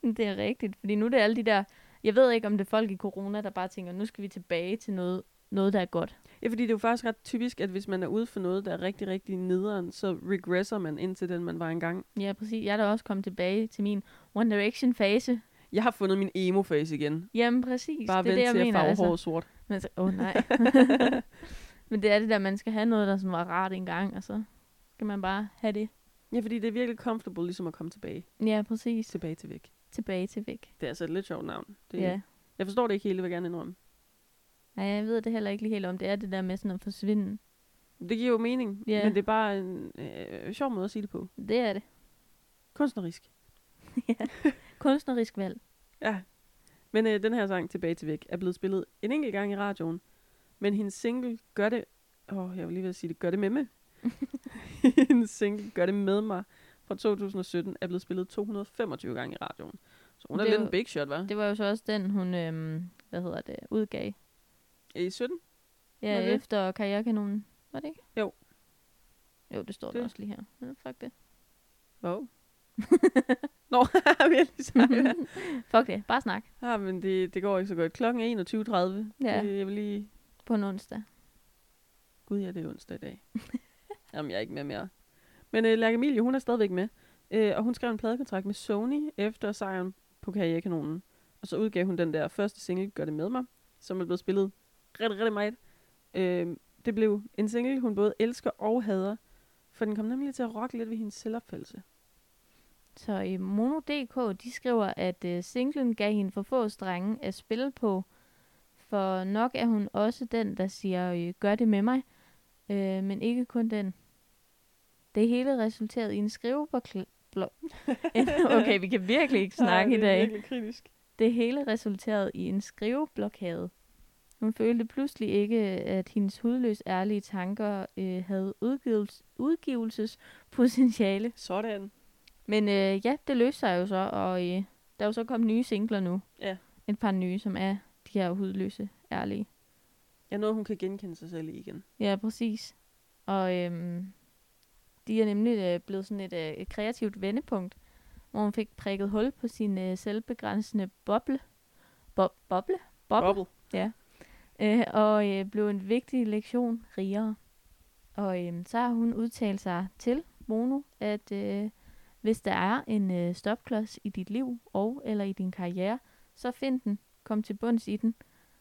Speaker 2: Det er rigtigt, fordi nu er det alle de der, jeg ved ikke om det er folk i corona, der bare tænker, nu skal vi tilbage til noget noget, der er godt.
Speaker 1: Ja, fordi det er jo faktisk ret typisk, at hvis man er ude for noget, der er rigtig, rigtig nederen, så regresser man ind til den, man var engang.
Speaker 2: Ja, præcis. Jeg er da også kommet tilbage til min One Direction-fase.
Speaker 1: Jeg har fundet min emo-face igen.
Speaker 2: Jamen, præcis.
Speaker 1: Bare
Speaker 2: det er
Speaker 1: vent
Speaker 2: det, jeg
Speaker 1: til at
Speaker 2: mener, altså.
Speaker 1: farve håret sort.
Speaker 2: Men så, åh oh, nej. Men det er det der, man skal have noget, der sådan var rart engang, og så skal man bare have det.
Speaker 1: Ja, fordi det er virkelig comfortable ligesom at komme tilbage.
Speaker 2: Ja, præcis.
Speaker 1: Tilbage til væk.
Speaker 2: Tilbage til væk.
Speaker 1: Det er altså et lidt sjovt navn. Det,
Speaker 2: Ja.
Speaker 1: Jeg forstår det ikke helt, vil jeg gerne indrømme.
Speaker 2: Nej, jeg ved det heller ikke lige helt om. Det er det der med sådan at forsvinde.
Speaker 1: Det giver jo mening,
Speaker 2: Ja.
Speaker 1: men det er bare en øh, sjov måde at sige det på.
Speaker 2: Det er det.
Speaker 1: Kunstnerisk.
Speaker 2: Kunstnerisk valg.
Speaker 1: Ja. Men øh, den her sang, Tilbage til Væk, er blevet spillet en enkelt gang i radioen. Men hendes single gør det... Åh, oh, jeg vil lige ved at sige det. Gør det med mig. hendes single Gør det med mig fra 2017 er blevet spillet 225 gange i radioen. Så hun er
Speaker 2: Det er
Speaker 1: lidt
Speaker 2: jo-
Speaker 1: en big shot, hva'?
Speaker 2: Det var jo så også den, hun, øhm, hvad hedder det, udgav.
Speaker 1: I 17?
Speaker 2: Ja,
Speaker 1: Var det?
Speaker 2: efter karrierekanonen. Var det ikke?
Speaker 1: Jo.
Speaker 2: Jo, det står det.
Speaker 1: Det-
Speaker 2: der også lige her. Ja, fuck det.
Speaker 1: Wow. Nå, vi er lige sammen.
Speaker 2: fuck det. Bare snak
Speaker 1: Ja, men det, det går ikke så godt. Klokken er 21.30.
Speaker 2: Ja.
Speaker 1: Det, jeg vil lige...
Speaker 2: på en onsdag.
Speaker 1: Gud ja, det er onsdag i dag. Jamen, jeg er ikke med mere. Men øh, Lærke Emilie, hun er stadigvæk med. Øh, og hun skrev en pladekontrakt med Sony efter sejren på Karrierekanonen. Og så udgav hun den der første single, Gør det med mig, som er blevet spillet rigtig, rigtig meget. Øh, det blev en single, hun både elsker og hader. For den kom nemlig til at rokke lidt ved hendes selvopfattelse.
Speaker 2: Så i Mono.dk, de skriver, at øh, singlen gav hende for få strenge at spille på. For nok er hun også den, der siger, øh, gør det med mig. Øh, men ikke kun den. Det hele resulterede i en skriveblok. okay, vi kan virkelig ikke snakke i
Speaker 1: Det er
Speaker 2: dag.
Speaker 1: virkelig kritisk.
Speaker 2: Det hele resulterede i en skriveblokade. Hun følte pludselig ikke, at hendes hudløs ærlige tanker øh, havde udgivels- udgivelsespotentiale.
Speaker 1: Sådan.
Speaker 2: Men øh, ja, det løste sig jo så, og øh, der er jo så kommet nye singler nu.
Speaker 1: Ja.
Speaker 2: Et par nye, som er de her hudløse ærlige.
Speaker 1: Ja, noget hun kan genkende sig selv i igen.
Speaker 2: Ja, præcis. Og øh, de er nemlig øh, blevet sådan et, øh, et kreativt vendepunkt, hvor hun fik prikket hul på sin øh, selvbegrænsende boble. Bob- boble? Boble?
Speaker 1: Bobble.
Speaker 2: øh, og øh, blev en vigtig lektion rigere. Og øh, så har hun udtalt sig til Mono, at øh, hvis der er en øh, stopklods i dit liv og eller i din karriere, så find den, kom til bunds i den,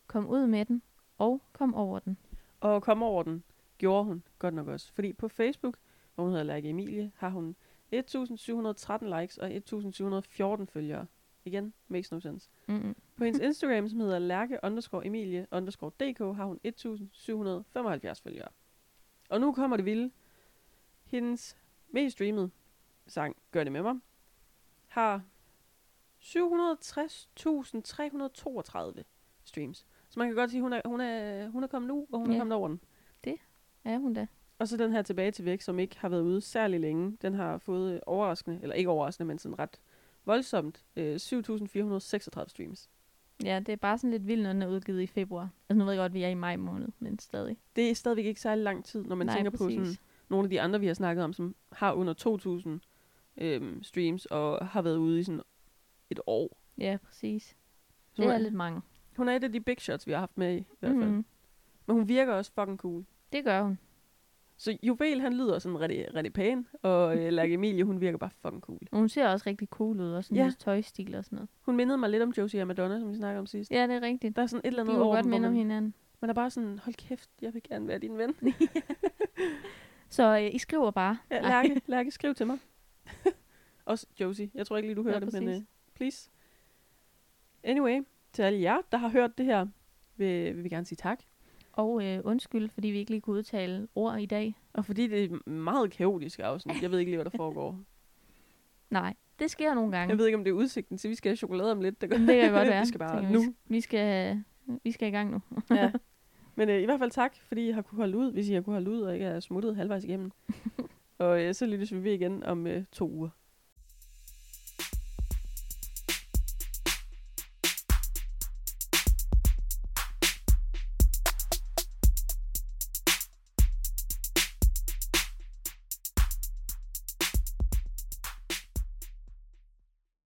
Speaker 2: kom ud med den og kom over den.
Speaker 1: Og kom over den gjorde hun godt nok også. Fordi på Facebook, hvor hun hedder Lærke Emilie, har hun 1713 likes og 1714 følgere. Igen, makes no sense.
Speaker 2: Mm-mm.
Speaker 1: På hendes Instagram, som hedder Lærke underscore Emilie underscore DK, har hun 1775 følgere. Og nu kommer det vilde. Hendes mest streamede sang, Gør det med mig, har 760.332 streams. Så man kan godt sige, hun er, hun er, hun er kommet nu, og hun
Speaker 2: Ja.
Speaker 1: er kommet over den.
Speaker 2: Er hun da?
Speaker 1: Og så den her tilbage til væk, som ikke har været ude særlig længe. Den har fået øh, overraskende, eller ikke overraskende, men sådan ret voldsomt, øh, 7.436 streams.
Speaker 2: Ja, det er bare sådan lidt vildt, når den er udgivet i februar. Altså nu ved jeg godt, at vi er i maj måned, men stadig.
Speaker 1: Det er stadigvæk ikke særlig lang tid, når man
Speaker 2: Nej,
Speaker 1: tænker på
Speaker 2: præcis.
Speaker 1: sådan, nogle af de andre, vi har snakket om, som har under 2.000 øh, streams og har været ude i sådan et år.
Speaker 2: Ja, præcis.
Speaker 1: Så
Speaker 2: Det
Speaker 1: hun,
Speaker 2: er lidt mange.
Speaker 1: hun er et af de big shots, vi har haft med i, i hvert fald.
Speaker 2: Mhm.
Speaker 1: Men hun virker også fucking cool.
Speaker 2: Det gør hun.
Speaker 1: Så Juvel, han lyder sådan rigtig, rigtig pæn, og øh, Lærke Emilie, hun virker bare fucking cool.
Speaker 2: Og Hun ser også rigtig cool ud, og sådan
Speaker 1: Ja.
Speaker 2: hendes tøjstil og sådan noget.
Speaker 1: Hun mindede mig lidt om Josie og Madonna, som vi snakkede om sidst.
Speaker 2: Ja, det er rigtigt.
Speaker 1: Der er sådan et eller
Speaker 2: De
Speaker 1: andet
Speaker 2: kunne
Speaker 1: over
Speaker 2: godt
Speaker 1: dem, hvor
Speaker 2: minde om
Speaker 1: man-
Speaker 2: hinanden.
Speaker 1: Man er bare sådan, hold kæft, jeg vil gerne være din ven.
Speaker 2: Så øh, I skriver bare.
Speaker 1: Ja,
Speaker 2: Ej.
Speaker 1: Lærke, Lærke, skriv til mig. Også Josie. Jeg tror ikke lige, du hører
Speaker 2: Ja,
Speaker 1: det, men
Speaker 2: præcis.
Speaker 1: uh, please. Anyway, til alle jer, der har hørt det her, vil, vil vi gerne sige tak.
Speaker 2: Og øh, undskyld, fordi vi ikke lige kunne udtale ord i dag.
Speaker 1: Og fordi det er et meget kaotisk afsnit, jeg ved ikke lige, hvad der foregår.
Speaker 2: Nej, det sker nogle gange.
Speaker 1: Jeg ved ikke, om det er udsigten til, vi skal have chokolade om lidt. Der går.
Speaker 2: Jamen, det kan godt være.
Speaker 1: vi skal bare
Speaker 2: tænker
Speaker 1: nu.
Speaker 2: jeg. Vi skal, vi skal i gang nu.
Speaker 1: Ja. Men øh, i hvert fald tak, fordi I har kunne holde ud, hvis I har kunne holde ud og ikke er smuttet halvvejs igennem. og øh, så lyttes vi ved igen om øh, to uger.